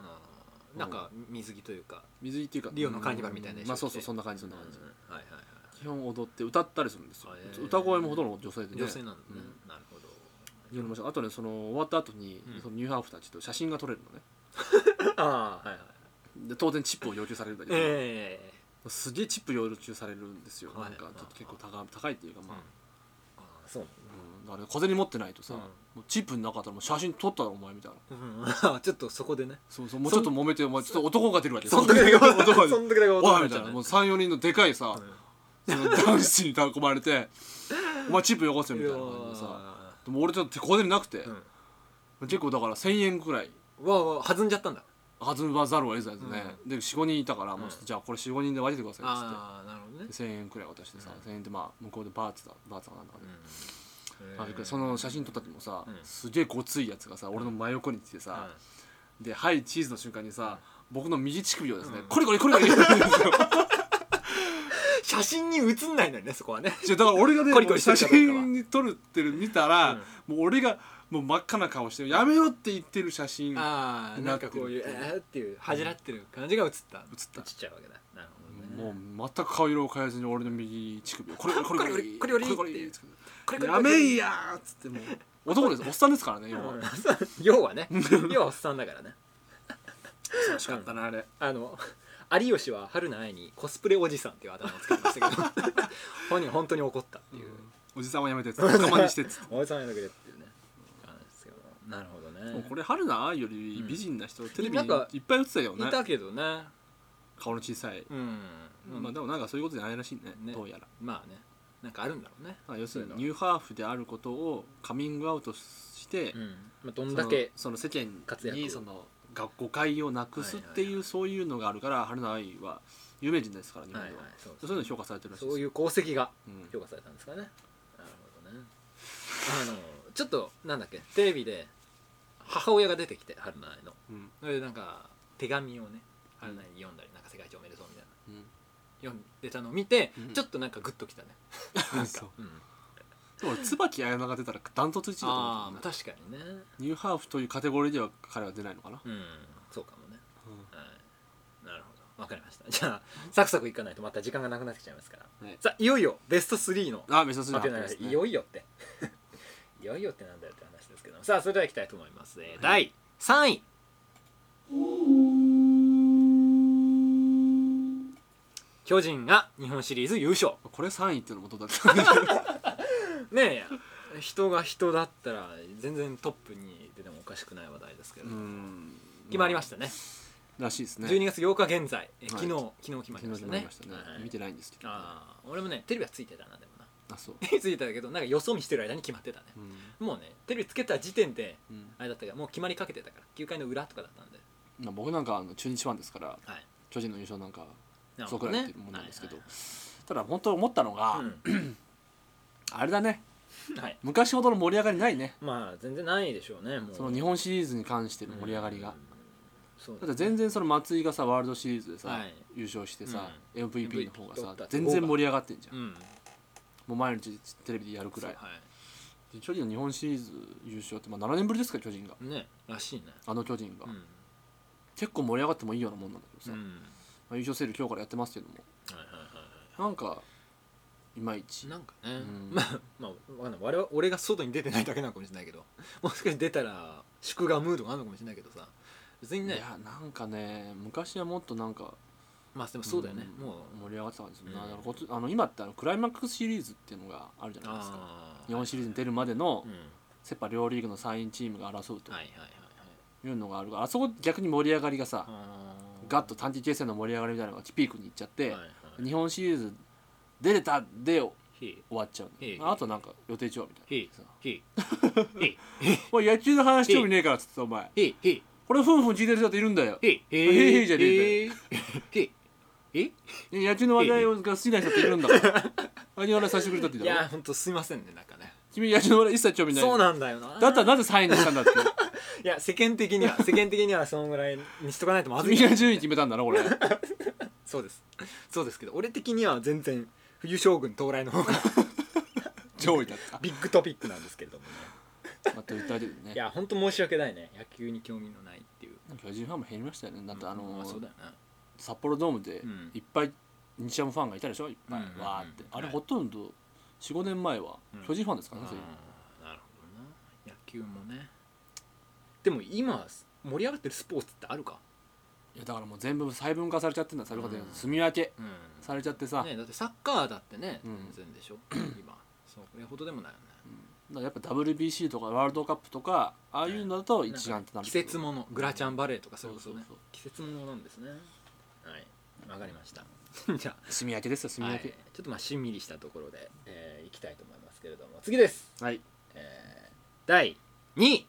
Speaker 1: ーなんか水着というか
Speaker 2: 水着っていうか
Speaker 1: リオのカーニバルみたいな衣
Speaker 2: まあそ
Speaker 1: 装
Speaker 2: う
Speaker 1: 着て
Speaker 2: そうそんな感じそんな感じ、
Speaker 1: うんはいはいはい
Speaker 2: 基本踊って歌ったりするんですよ
Speaker 1: あへー
Speaker 2: 歌声もほとんど女性でね
Speaker 1: 女性なんだ
Speaker 2: う
Speaker 1: ね
Speaker 2: ん
Speaker 1: なるほど
Speaker 2: やりましたあとねその終わった後に、
Speaker 1: うん
Speaker 2: そのニューハーフたちと写真が撮れるのね
Speaker 1: ああはいはい
Speaker 2: で当然チップを要求されるんだけど、
Speaker 1: ええ
Speaker 2: すげえチップ要求されるんですよ、
Speaker 1: はい
Speaker 2: なんかちょっと結構高高いっていうかまあ、
Speaker 1: ああそう
Speaker 2: うんだから小銭持ってないとさ、
Speaker 1: うん
Speaker 2: もうチップなかったらもう写真撮ったらお前みたいな
Speaker 1: うん *laughs* ちょっとそこでね
Speaker 2: そうそうもうちょっと揉めてお前ちょっと男が出るわけ
Speaker 1: そんだけだけ
Speaker 2: 男が出
Speaker 1: *laughs* そ
Speaker 2: る
Speaker 1: んだけだけ
Speaker 2: おい
Speaker 1: 男じ
Speaker 2: みた
Speaker 1: ゃ
Speaker 2: いな
Speaker 1: ない
Speaker 2: もう34人のでかいさ、その男子に囲ま
Speaker 1: *laughs*
Speaker 2: れて「お前チップよこせ」みたいな感じでさでも俺ちょっと小銭なくて、結構だから1,000円くらい
Speaker 1: わあわあ弾んじゃったんだ
Speaker 2: 弾まざるを得ずやつね、で45人いたから、もうちょっ
Speaker 1: う
Speaker 2: とじゃあこれ45人で分けてくださいっつって。
Speaker 1: ああなるほどね
Speaker 2: で1000円くらい渡してさ、1000円でまあ向こうでバーツだバーツかなんだかね、
Speaker 1: うん
Speaker 2: あその写真撮った時もさ、
Speaker 1: うん
Speaker 2: すげえごついやつがさ俺の真横に来てさ、
Speaker 1: う
Speaker 2: で「はいチーズ」の瞬間にさ、僕の右乳首をですね、
Speaker 1: うん
Speaker 2: これこれこれこれ違うだ
Speaker 1: *laughs*
Speaker 2: か
Speaker 1: ん写真に写んないのにねそこはね
Speaker 2: ら俺がね
Speaker 1: コリコリして
Speaker 2: 写
Speaker 1: るかどうかは
Speaker 2: 真に撮るってる見たら、もう俺がもう真っ赤な顔して「やめろ」って言ってる写真写
Speaker 1: ああなんかこういう
Speaker 2: なってる
Speaker 1: えーっていう恥じらってる感じが写った
Speaker 2: った
Speaker 1: 映っちゃうわけだなるほど
Speaker 2: も
Speaker 1: ね
Speaker 2: う全く顔色を変えずに俺の右乳首をこれこれこれこれ
Speaker 1: これこれ
Speaker 2: これ
Speaker 1: って
Speaker 2: こ
Speaker 1: これ
Speaker 2: れやめいやーっつってもう男ですおっさんですからね要は
Speaker 1: *laughs* 要はね要はおっさんだからね
Speaker 2: 楽しかったなあれ
Speaker 1: あの有吉は春菜愛にコスプレおじさんっていうあだ名をつけてま
Speaker 2: *laughs*
Speaker 1: したけど本人は本当に怒ったっていう、
Speaker 2: おじさんはやめてっつって仲間にしてっつって
Speaker 1: おじさんやめてくれっていうね話ですけどなるほど
Speaker 2: もう
Speaker 1: ね
Speaker 2: これ春菜愛より美人な人、テレビ
Speaker 1: な
Speaker 2: に
Speaker 1: んか
Speaker 2: いっぱい映ってたよね
Speaker 1: いたけどね
Speaker 2: 顔の小さい、
Speaker 1: うん、
Speaker 2: まあ、でもなんかそういうことじゃないらしいね
Speaker 1: ね
Speaker 2: どうやら
Speaker 1: まあねなんかあるんだろうね
Speaker 2: まあ要するにニューハーフであることをカミングアウトして、
Speaker 1: うんまあ、どんだけ
Speaker 2: そのその世
Speaker 1: 活
Speaker 2: 間
Speaker 1: 躍
Speaker 2: にそのが誤解をなくすって
Speaker 1: は
Speaker 2: いう、
Speaker 1: いはいは
Speaker 2: そういうのがあるから春菜愛は有名人ですから日本
Speaker 1: はい
Speaker 2: で
Speaker 1: はい
Speaker 2: は、
Speaker 1: そう
Speaker 2: そういうの評価されてるらしい
Speaker 1: そういうう功績が
Speaker 2: ん
Speaker 1: 評価されたんですかねなるほどねあのちょっとなんだっけテレビで母親が出てきて春菜の
Speaker 2: うん
Speaker 1: それでなんか手紙をね春菜に読んだりなんか世界一おめでとうみたいな *laughs* 読んでたのを見て、
Speaker 2: うん
Speaker 1: ちょっとなんかグッときたね、
Speaker 2: うん、そう
Speaker 1: うん、
Speaker 2: でも俺椿彩菜が出たらダントツ1位だと思
Speaker 1: あ
Speaker 2: うん
Speaker 1: あ
Speaker 2: だよ
Speaker 1: 確
Speaker 2: ね
Speaker 1: かにね
Speaker 2: ニューハーフというカテゴリーでは彼は出ないのかな、
Speaker 1: うんそうかもね
Speaker 2: うん
Speaker 1: はいなるほどわかりました *laughs* じゃあサクサクいかないとまた時間がなくなってきちゃいますから、
Speaker 2: はい
Speaker 1: さあいよいよベスト3の
Speaker 2: ああ目指すの
Speaker 1: 待
Speaker 2: 発
Speaker 1: て *laughs* ない、
Speaker 2: 表ですね
Speaker 1: いよいよっていよいよってなんだよって話ですけどさあそれではいきたいと思います、えー第3位巨人が日本シリーズ優勝
Speaker 2: これ3位っていうのもどうだったん *laughs* だ
Speaker 1: ねえ人が人だったら全然トップに出てもおかしくない話題ですけど、
Speaker 2: ん
Speaker 1: 決まりましたね
Speaker 2: らしいですね
Speaker 1: 12月8日現在、え
Speaker 2: い
Speaker 1: 昨日昨日決まり
Speaker 2: 昨
Speaker 1: ま
Speaker 2: 日
Speaker 1: し
Speaker 2: 決
Speaker 1: た
Speaker 2: まり
Speaker 1: ね
Speaker 2: ましたね
Speaker 1: はい
Speaker 2: 見てないんですけど
Speaker 1: ああ俺もねテレビはついてたなでもな *laughs*
Speaker 2: あそう
Speaker 1: テレビついてたけどなんかよそ見してる間に決まってたね
Speaker 2: うん
Speaker 1: もうねテレビつけた時点で
Speaker 2: うん
Speaker 1: あれだったからもう決まりかけてたから9回の裏とかだったんで
Speaker 2: まあ僕なんかあの中日ファンですから
Speaker 1: はい
Speaker 2: 巨人の優勝なんか
Speaker 1: なる
Speaker 2: そ
Speaker 1: ほ
Speaker 2: う
Speaker 1: ど
Speaker 2: くらい
Speaker 1: ね
Speaker 2: ってもんなんですけど
Speaker 1: はい
Speaker 2: ただ本当思ったのが
Speaker 1: はいはい
Speaker 2: あれだね
Speaker 1: うんはい
Speaker 2: 昔ほどの盛り上がりないね
Speaker 1: まあ全然ないでしょうねもう
Speaker 2: その日本シリーズに関しての盛り上がりが
Speaker 1: うんそう
Speaker 2: だって全然その松井がさワールドシリーズでさ、
Speaker 1: はい
Speaker 2: 優勝してさ、MVP の方
Speaker 1: MVP
Speaker 2: が
Speaker 1: 取
Speaker 2: さ
Speaker 1: った
Speaker 2: 全然盛り上がってんじゃん、
Speaker 1: うん
Speaker 2: もう毎日テレビでやるくらい
Speaker 1: は
Speaker 2: で巨人の日本シリーズ優勝って、まあ、7年ぶりですから巨人が
Speaker 1: いねらしいね
Speaker 2: あの巨人が、
Speaker 1: うん
Speaker 2: 結構盛り上がってもいいようなもんなんだけどさ、
Speaker 1: う
Speaker 2: ま
Speaker 1: ん
Speaker 2: あ、優勝セール今日からやってますけども
Speaker 1: はいはいはいはい
Speaker 2: なんかいまいち
Speaker 1: なんかね、
Speaker 2: ん
Speaker 1: まあまあわかんない我々俺が外に出てないだけなのかもしれないけどもしかして出たら祝賀ムードがあるのかもしれないけどさ別に
Speaker 2: い
Speaker 1: ね
Speaker 2: やなんかね昔はもっとなんか
Speaker 1: まあでもそうだよね、
Speaker 2: ん
Speaker 1: もう
Speaker 2: 盛り上がってたんですよ、
Speaker 1: うん
Speaker 2: だからこっちあの今ってあのクライマックスシリーズっていうのがあるじゃないですか
Speaker 1: ああ
Speaker 2: 日本シリーズに出
Speaker 1: る
Speaker 2: るまでの
Speaker 1: うんはい
Speaker 2: セ・パ両リーグの3位チームが争うと
Speaker 1: はいはいはい
Speaker 2: いうのがあるからあそこ逆に盛り上がりがさ
Speaker 1: あー
Speaker 2: ガッと短期決戦の盛り上がりみたいなのがピークに行っちゃって、
Speaker 1: はいはい
Speaker 2: 日本シリーズ出れたで終
Speaker 1: ひ
Speaker 2: わっちゃうの、
Speaker 1: ええ
Speaker 2: あとなんか予定調みたいな
Speaker 1: ひ
Speaker 2: さ
Speaker 1: ひ
Speaker 2: *laughs*
Speaker 1: ひ
Speaker 2: おい野球の話興味ねえからっつってお前
Speaker 1: ひひ
Speaker 2: これふんふん聞いてる人だっているんだよ
Speaker 1: ひひ
Speaker 2: へへじゃねえ
Speaker 1: ひひ
Speaker 2: 野球の話題が好きな人っているんだから野球の話させてくれたっていい
Speaker 1: い
Speaker 2: だ
Speaker 1: や
Speaker 2: ろ
Speaker 1: 本当すいませんねなんかね
Speaker 2: 君野球の話題一切興味ない
Speaker 1: そうなんだよな
Speaker 2: だったらなぜ3位にしたんだって
Speaker 1: いや世間的に
Speaker 2: *laughs*
Speaker 1: は世間的にはそのぐらいにしとかないとまずい
Speaker 2: 君が順位決めたんだろこれ
Speaker 1: そうですそうですけど俺的には全然冬将軍到来の方
Speaker 2: *laughs*
Speaker 1: が
Speaker 2: 上位だった
Speaker 1: ビッグトピックなんですけれどもね
Speaker 2: また訴えてる
Speaker 1: い
Speaker 2: ね
Speaker 1: や本当申し訳ないね野球に興味のないっていう
Speaker 2: 巨人ファンも減りましたよねだってあの
Speaker 1: まそうだよ
Speaker 2: 札幌ドームで
Speaker 1: うん
Speaker 2: いっぱい日ハムファンがいたでしょいっぱい、
Speaker 1: うんうんうん
Speaker 2: わーってあれ
Speaker 1: はい
Speaker 2: ほとんど45年前は
Speaker 1: うん
Speaker 2: 巨人ファンですか
Speaker 1: な
Speaker 2: らね、そういう
Speaker 1: あーなるほどな野球もねでも今盛り上がってるスポーツってあるか
Speaker 2: いやだからもう全部細分化されちゃってんだ細分化で
Speaker 1: うん
Speaker 2: 住み分け
Speaker 1: うん
Speaker 2: されちゃってさ、
Speaker 1: ねだってサッカーだってね
Speaker 2: うん
Speaker 1: 全然でしょ今そうこれほどでもないよね
Speaker 2: だからやっぱ WBC とかワールドカップとかああいうのだと一
Speaker 1: な
Speaker 2: 丸っ
Speaker 1: ん
Speaker 2: て
Speaker 1: か
Speaker 2: なる
Speaker 1: 季
Speaker 2: けど
Speaker 1: 節ものグラチャンバレーとかそういうことね
Speaker 2: そうそうそう
Speaker 1: 季節ものなんですねはいわかりました *laughs* じゃあ
Speaker 2: 住み分けですよ住み
Speaker 1: は
Speaker 2: 分
Speaker 1: い、ちょ
Speaker 2: け
Speaker 1: っとまあしんみりしたところで、えー、いきたいと思いますけれども次です、
Speaker 2: はい
Speaker 1: えー、第2位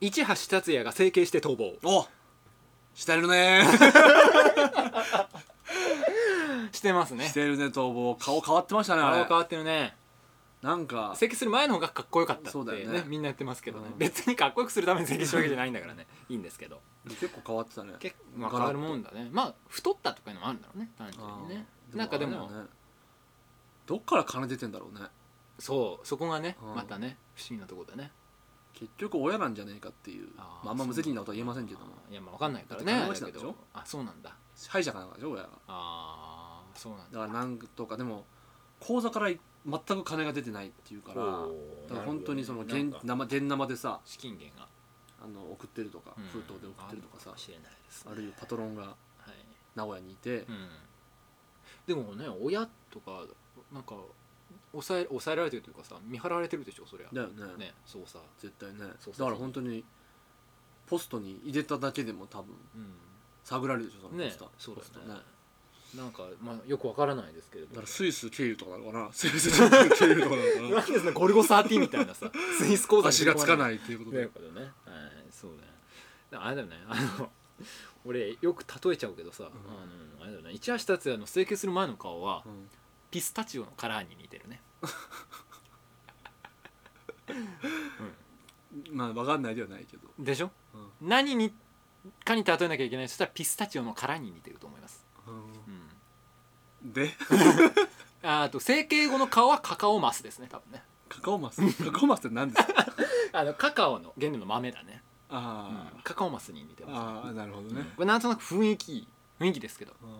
Speaker 1: 市橋達也が整形して逃亡
Speaker 2: おしてるねー
Speaker 1: してますね
Speaker 2: してるね逃亡顔変わってましたねあ
Speaker 1: 顔
Speaker 2: れ
Speaker 1: 変わってるね
Speaker 2: なんか
Speaker 1: 整形する前の方がかっこよかったって、ね
Speaker 2: そうだよね
Speaker 1: みんな言ってますけどね、
Speaker 2: うん
Speaker 1: 別にかっこよくするために整形したわけじゃないんだからね *laughs* いいんですけど
Speaker 2: 結構変わってたね
Speaker 1: 結構、まあ、変わるもんだねまあ太ったとかいうのもあるんだろうね単純
Speaker 2: あー
Speaker 1: にねなんかでも
Speaker 2: あれだよねどっから金出てんだろうね
Speaker 1: そうそこがね
Speaker 2: うん
Speaker 1: またね不思議なところだね
Speaker 2: 結局親なんじゃねえかっていう
Speaker 1: あー
Speaker 2: まあ、あんま無責任なことは言えませんけども
Speaker 1: いやまあわかんないからね
Speaker 2: だって金持ちなんでしょ
Speaker 1: だけどあそうなんだ
Speaker 2: 支配者かなんかでしょ親が
Speaker 1: ああそうなんだ
Speaker 2: だからなんとかでも口座から全く金が出てないっていうから
Speaker 1: おー
Speaker 2: だから本当にその
Speaker 1: なるほどね
Speaker 2: 現
Speaker 1: なんか
Speaker 2: 生現生でさ
Speaker 1: 資金源が
Speaker 2: あの送ってるとか
Speaker 1: うん
Speaker 2: 封筒で送ってるとか
Speaker 1: あるの
Speaker 2: さ
Speaker 1: もしれないですね
Speaker 2: あるいはパトロンが
Speaker 1: はい
Speaker 2: 名古屋にいて
Speaker 1: うんでもね親とかなんか抑え抑えられてるというかさ見張られてるでしょそりゃ
Speaker 2: だよね
Speaker 1: ねそうさ
Speaker 2: 絶対ね
Speaker 1: そうそう
Speaker 2: だから本当にポストに入れただけでも多分
Speaker 1: うん
Speaker 2: 探られるでしょそのポ
Speaker 1: ね
Speaker 2: スト
Speaker 1: そうだよ
Speaker 2: ポ
Speaker 1: ね
Speaker 2: スト
Speaker 1: なんかまあよくわからないですけれ
Speaker 2: だか
Speaker 1: ど
Speaker 2: らスイス経由とかなのかな *laughs* スイス経由とかなのか
Speaker 1: なんでそんなゴルゴ13みたいな
Speaker 2: *laughs*
Speaker 1: さスイス講
Speaker 2: な
Speaker 1: 座
Speaker 2: 足がつかないいっていうこと
Speaker 1: とい
Speaker 2: で
Speaker 1: うことねはいそうだよだからあれだよねあの俺よく例えちゃうけどさ、あのあれだよね一橋達也の整形する前の顔は、
Speaker 2: うん
Speaker 1: ピスタチオのカラーに似てるね
Speaker 2: まあ分かんないではないけど
Speaker 1: でしょ
Speaker 2: うん
Speaker 1: 何にかに例えなきゃいけないそしたらピスタチオの殻に似てると思います、うん、
Speaker 2: で
Speaker 1: ああと整形後の顔はカカオマスですね多分ね
Speaker 2: カカオマスカカオマスって何ですか
Speaker 1: *laughs* あのカカオの原料の豆だね、
Speaker 2: あ
Speaker 1: うんカカオマスに似て
Speaker 2: ー
Speaker 1: ま
Speaker 2: あーなるほど
Speaker 1: す、
Speaker 2: ね
Speaker 1: これなんとなく雰囲気雰囲気ですけど、
Speaker 2: うん
Speaker 1: うん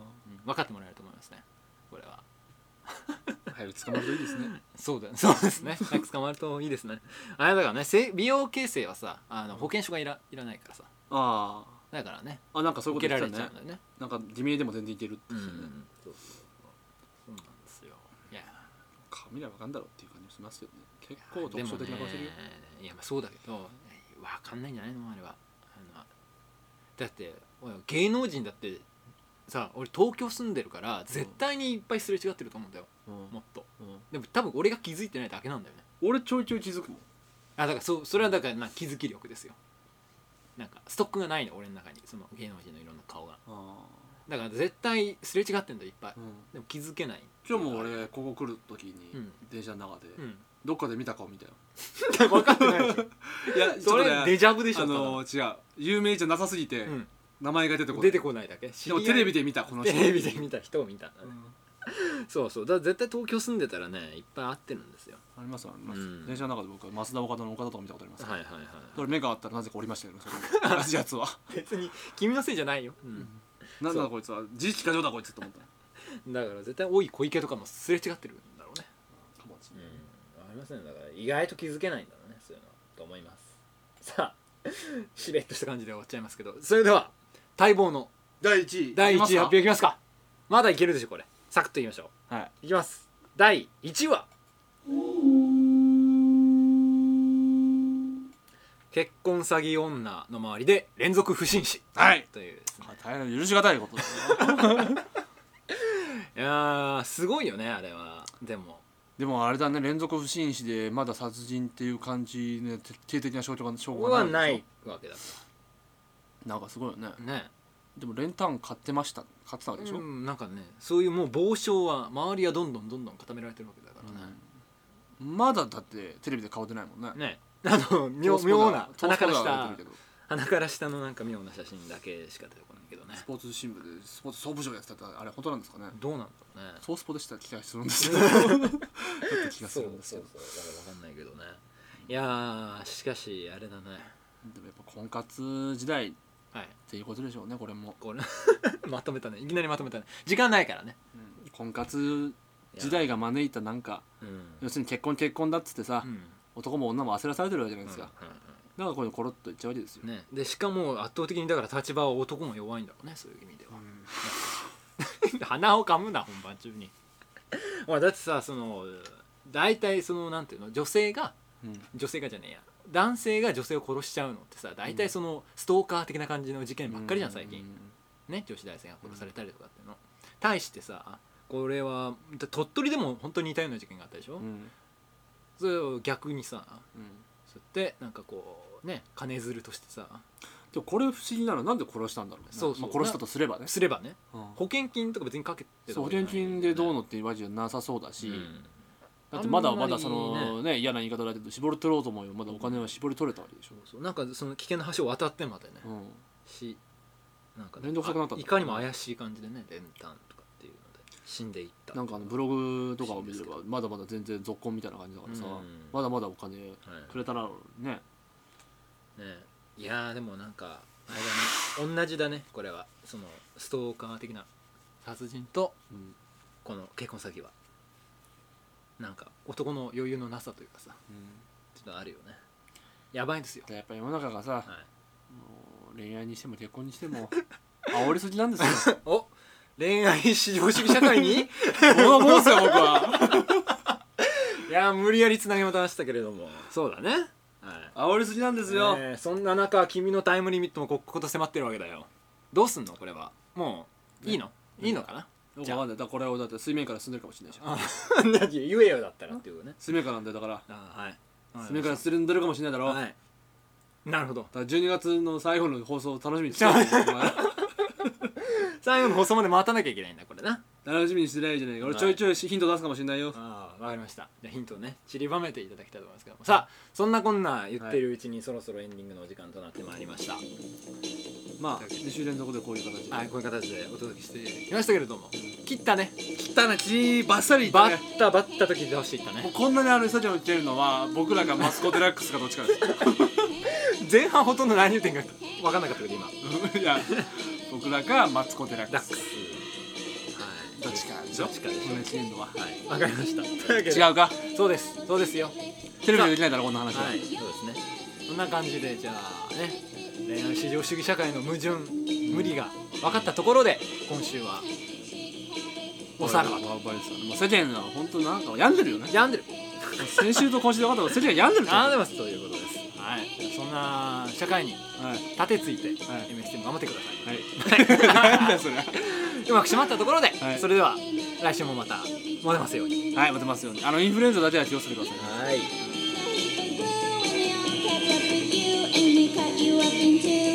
Speaker 1: 分かってもらえると思いますねこれは
Speaker 2: 早く捕まるといいですね
Speaker 1: そうだそうですね *laughs* 早く捕まるといいですねあれだからねせ美容形成はさあの保険証がいらいらないからさ
Speaker 2: あ
Speaker 1: だからね
Speaker 2: ああなんかそういう
Speaker 1: 受
Speaker 2: こ
Speaker 1: け
Speaker 2: と
Speaker 1: ら
Speaker 2: 言
Speaker 1: れ
Speaker 2: っ
Speaker 1: ちゃ
Speaker 2: てた
Speaker 1: うんだ
Speaker 2: ね
Speaker 1: よね
Speaker 2: なんか地名でも全然いけるっ
Speaker 1: う
Speaker 2: て
Speaker 1: ん
Speaker 2: 言
Speaker 1: う
Speaker 2: ってたね
Speaker 1: んそうそうそうそうなんですよいや
Speaker 2: 髪らわかんだろうっていう感じもしますよね結構特徴的な顔してるよ、
Speaker 1: でもねいやまあそうだけどわかんないんじゃないのあれはあのだっておい芸能人だってさ俺東京住んでるから絶対にいっぱいすれ違ってると思うんだよもっと
Speaker 2: うんうん
Speaker 1: でも多分俺が気づいてないだけなんだよね
Speaker 2: 俺ちょいちょい気づくもん
Speaker 1: あだからそうそれはだからまあ気づき力ですよなんかストックがないの俺の中にその芸能人のいろんな顔が
Speaker 2: あ
Speaker 1: だから絶対すれ違ってんだよいっぱい
Speaker 2: あ、うん、
Speaker 1: でも気づけない
Speaker 2: 今日も俺ここ来る時に、
Speaker 1: うん
Speaker 2: 電車の中で、
Speaker 1: うん
Speaker 2: どっかで見た顔見たよ
Speaker 1: *laughs* 分かってないでしょ
Speaker 2: いや
Speaker 1: *laughs* それデジャブでしょ
Speaker 2: あのー違う有名じゃなさすぎ
Speaker 1: た
Speaker 2: て、
Speaker 1: だうん
Speaker 2: 名前が出てこない
Speaker 1: 出てこないだけ
Speaker 2: でもテレビ
Speaker 1: で
Speaker 2: で見たこの
Speaker 1: テ
Speaker 2: 人
Speaker 1: レビで見た人を見たんだね
Speaker 2: うん
Speaker 1: そうそうだから絶対東京住んでたらねいっぱい会ってるんですよ
Speaker 2: ありますあります、
Speaker 1: うん
Speaker 2: 電車の中で僕は増田岡田の岡田とか見たことあります、
Speaker 1: はいはいはい
Speaker 2: それ目が合ったらなぜかおりましたよねそ
Speaker 1: *laughs*
Speaker 2: の同じやつは
Speaker 1: 別に君のせいじゃないよ、うん
Speaker 2: なんだこいつは自意識過剰だこいつと思ったか
Speaker 1: だから絶対多い小池とかもすれ違ってるんだろうね
Speaker 2: もし
Speaker 1: う
Speaker 2: れ
Speaker 1: ん
Speaker 2: ない
Speaker 1: ありませんだから意外と気づけないんだろうねそういうのと思いますさあしれっとした感じで終わっちゃいますけどそれでは待望の
Speaker 2: 第1位
Speaker 1: 第1位発表
Speaker 2: い
Speaker 1: いきますかまだいけるでしょこれサクッといきましょ
Speaker 2: きますかはいう
Speaker 1: いきます第1位は結婚詐欺女の周りで連続不審死
Speaker 2: はい
Speaker 1: というですね
Speaker 2: あ大変許しがたいことですよ *laughs*
Speaker 1: いやーすごいよねあれはでも
Speaker 2: でもあれだね連続不審死でまだ殺人っていう感じの徹底的な証拠が証
Speaker 1: こ
Speaker 2: 拠
Speaker 1: こ
Speaker 2: が
Speaker 1: は
Speaker 2: ない
Speaker 1: ないわけだか
Speaker 2: なんかすごいよね、
Speaker 1: らね
Speaker 2: でも練炭買ってました買ってたわけでしょ、
Speaker 1: うんなんかねそういうもう防証は周りはどんどんどんどん固められてるわけだからね、
Speaker 2: まだだってテレビで顔出ないもんね
Speaker 1: ね *laughs* あの妙
Speaker 2: トースポでは
Speaker 1: 妙な鼻から
Speaker 2: トースポでは出
Speaker 1: 下
Speaker 2: てるけど
Speaker 1: 鼻から下のなんか妙な写真だけしか出てこないけどね
Speaker 2: スポーツ新聞でスポーツ総部長やってたってあれ本当なんですかね
Speaker 1: どうなんだろ *laughs* うね
Speaker 2: ソースポでした気がするんですけどちょっと気がす
Speaker 1: そう
Speaker 2: るんです
Speaker 1: そ
Speaker 2: け
Speaker 1: うそ
Speaker 2: ど
Speaker 1: うだから分かんないけどねいやーしかしあれだね
Speaker 2: でもやっぱ婚活時代っ
Speaker 1: はい
Speaker 2: ていうことでしょうねこれも、
Speaker 1: これ *laughs* まとめたねいきなりまとめたね時間ないからね
Speaker 2: 婚活時代が招いたなんか
Speaker 1: うん
Speaker 2: 要するに結婚結婚だっつってさ、
Speaker 1: うん
Speaker 2: 男も女も焦らされてるわけじゃないですか、
Speaker 1: うんうんうん
Speaker 2: だからこれコロッといっちゃうわけですよ、
Speaker 1: ね、でしかも圧倒的にだから立場は男も弱いんだろうねそういう意味では、鼻をかむな本番中にまあだってさその大体そのなんていうの女性が
Speaker 2: うん
Speaker 1: 女性がじゃねえや男性が女性を殺しちゃうのってさ大体そのストーカー的な感じの事件ばっかりじゃん最近、ね女子大生が殺されたりとかっていうの対してさこれはだ鳥取でも本当に似たような事件があったでしょ、
Speaker 2: うんうん
Speaker 1: それを逆にさ
Speaker 2: うん
Speaker 1: そうやってなんかこうね金づるとしてさ
Speaker 2: でもこれ不思議なのはなんで殺したんだろうね
Speaker 1: そうそう
Speaker 2: まあ、殺したとすればね、
Speaker 1: すればね
Speaker 2: うん
Speaker 1: 保険金とか別にかけて
Speaker 2: そう保険金でどう
Speaker 1: の
Speaker 2: のっていうわけじゃなさそうだし、だって
Speaker 1: あん
Speaker 2: ま
Speaker 1: まり
Speaker 2: だまだそのね嫌な言い方だけど絞り取ろうと思うよまだお金は絞り取れたわけでしょ、
Speaker 1: そうなんかその危険な橋を渡ってまでね、
Speaker 2: うん
Speaker 1: しなんかね
Speaker 2: 面倒くさくなったん
Speaker 1: あい
Speaker 2: だ
Speaker 1: かにも怪しい感じでね練炭とかっていうので死んでいった
Speaker 2: なんかあのブログとかを見ればまだまだ全然続婚みたいな感じだからさ、
Speaker 1: うん
Speaker 2: まだまだお金く
Speaker 1: は
Speaker 2: れたらね
Speaker 1: いね、いやーでもなんかあれだね同じだねこれはそのストーカー的な殺人と
Speaker 2: うん
Speaker 1: この結婚詐欺はなんか男の余裕のなさというかさ
Speaker 2: うん
Speaker 1: ちょっとあるよねやばいんですよ、
Speaker 2: やっぱり世の中がさ、
Speaker 1: はい
Speaker 2: もう恋愛にしても結婚にして *laughs* も煽りすぎなんです *laughs* よ
Speaker 1: お恋愛至上主義社会
Speaker 2: *laughs*
Speaker 1: に
Speaker 2: 物申すよ僕はい
Speaker 1: や無理やりつなげましたけれどもそうだねはい
Speaker 2: 煽りすぎなんですよ、
Speaker 1: えーそんな中君のタイムリミットもここと迫ってるわけだよどうすんのこれはもういいの、いいのかな
Speaker 2: じゃあだからこれをだって水面から進んでるかもしれないじゃん
Speaker 1: あ *laughs* 何言えよだったらっていうね
Speaker 2: 水面からなんだよだから
Speaker 1: あはい
Speaker 2: 水面から進んでるかもしれないだろ、
Speaker 1: はいなるほど
Speaker 2: だから12月の最後の放送を楽しみにしてない
Speaker 1: 最後の放送まで待たなきゃいけないんだこれな
Speaker 2: 楽しみにしてないじゃないか俺ちょいちょいヒント出すかもしれないよ
Speaker 1: ああわかりましたじゃあヒントをね散りばめていただきたいと思いますけどもさあそんなこんな言ってるうちにそろそろエンディングのお時間となってまいりました、
Speaker 2: まあ2週連続でこういう形で、
Speaker 1: はい、こういう形でお届けしてきましたけれども切ったね
Speaker 2: 汚い血バッサリいった
Speaker 1: バ
Speaker 2: ね
Speaker 1: ッタバッタと切ってほしいった *laughs*
Speaker 2: もう
Speaker 1: ね
Speaker 2: こんなにあのスタジアム行ってるのは僕らがマスコ・デラックスかどっちかです *laughs*
Speaker 1: 前半ほとんど何言ってんか分かんなかったけど今
Speaker 2: いや僕らかマツコ・デラッ
Speaker 1: ダ
Speaker 2: ク
Speaker 1: ック
Speaker 2: ス
Speaker 1: スはい
Speaker 2: どっちちか
Speaker 1: どっちかでし
Speaker 2: 今年年度は
Speaker 1: ょはいわかりましたというわけで
Speaker 2: 違うか
Speaker 1: そうですそうですよは
Speaker 2: テレビでできないだろこんな話はい
Speaker 1: そうですねそんな感じでじゃあね恋愛至上主義社会の矛盾無理が分かったところで今週はおさらばと
Speaker 2: バレてたもう世間は本当なんか病んでるよね *laughs*
Speaker 1: 病んでる
Speaker 2: 先週と今週で分かったけど世間は病んでると思
Speaker 1: あ
Speaker 2: う
Speaker 1: でますということですはいそんな社会に
Speaker 2: はい
Speaker 1: 立てついて、
Speaker 2: はい
Speaker 1: MXT も頑張ってください
Speaker 2: はい *laughs* なんだよそれは
Speaker 1: うまく締まったところで、
Speaker 2: はい
Speaker 1: それでは来週もまたモテますように
Speaker 2: い待てますよねあのインフルエンザだけは気をつけてください
Speaker 1: はい
Speaker 3: Catch up with you and we cut you up in two.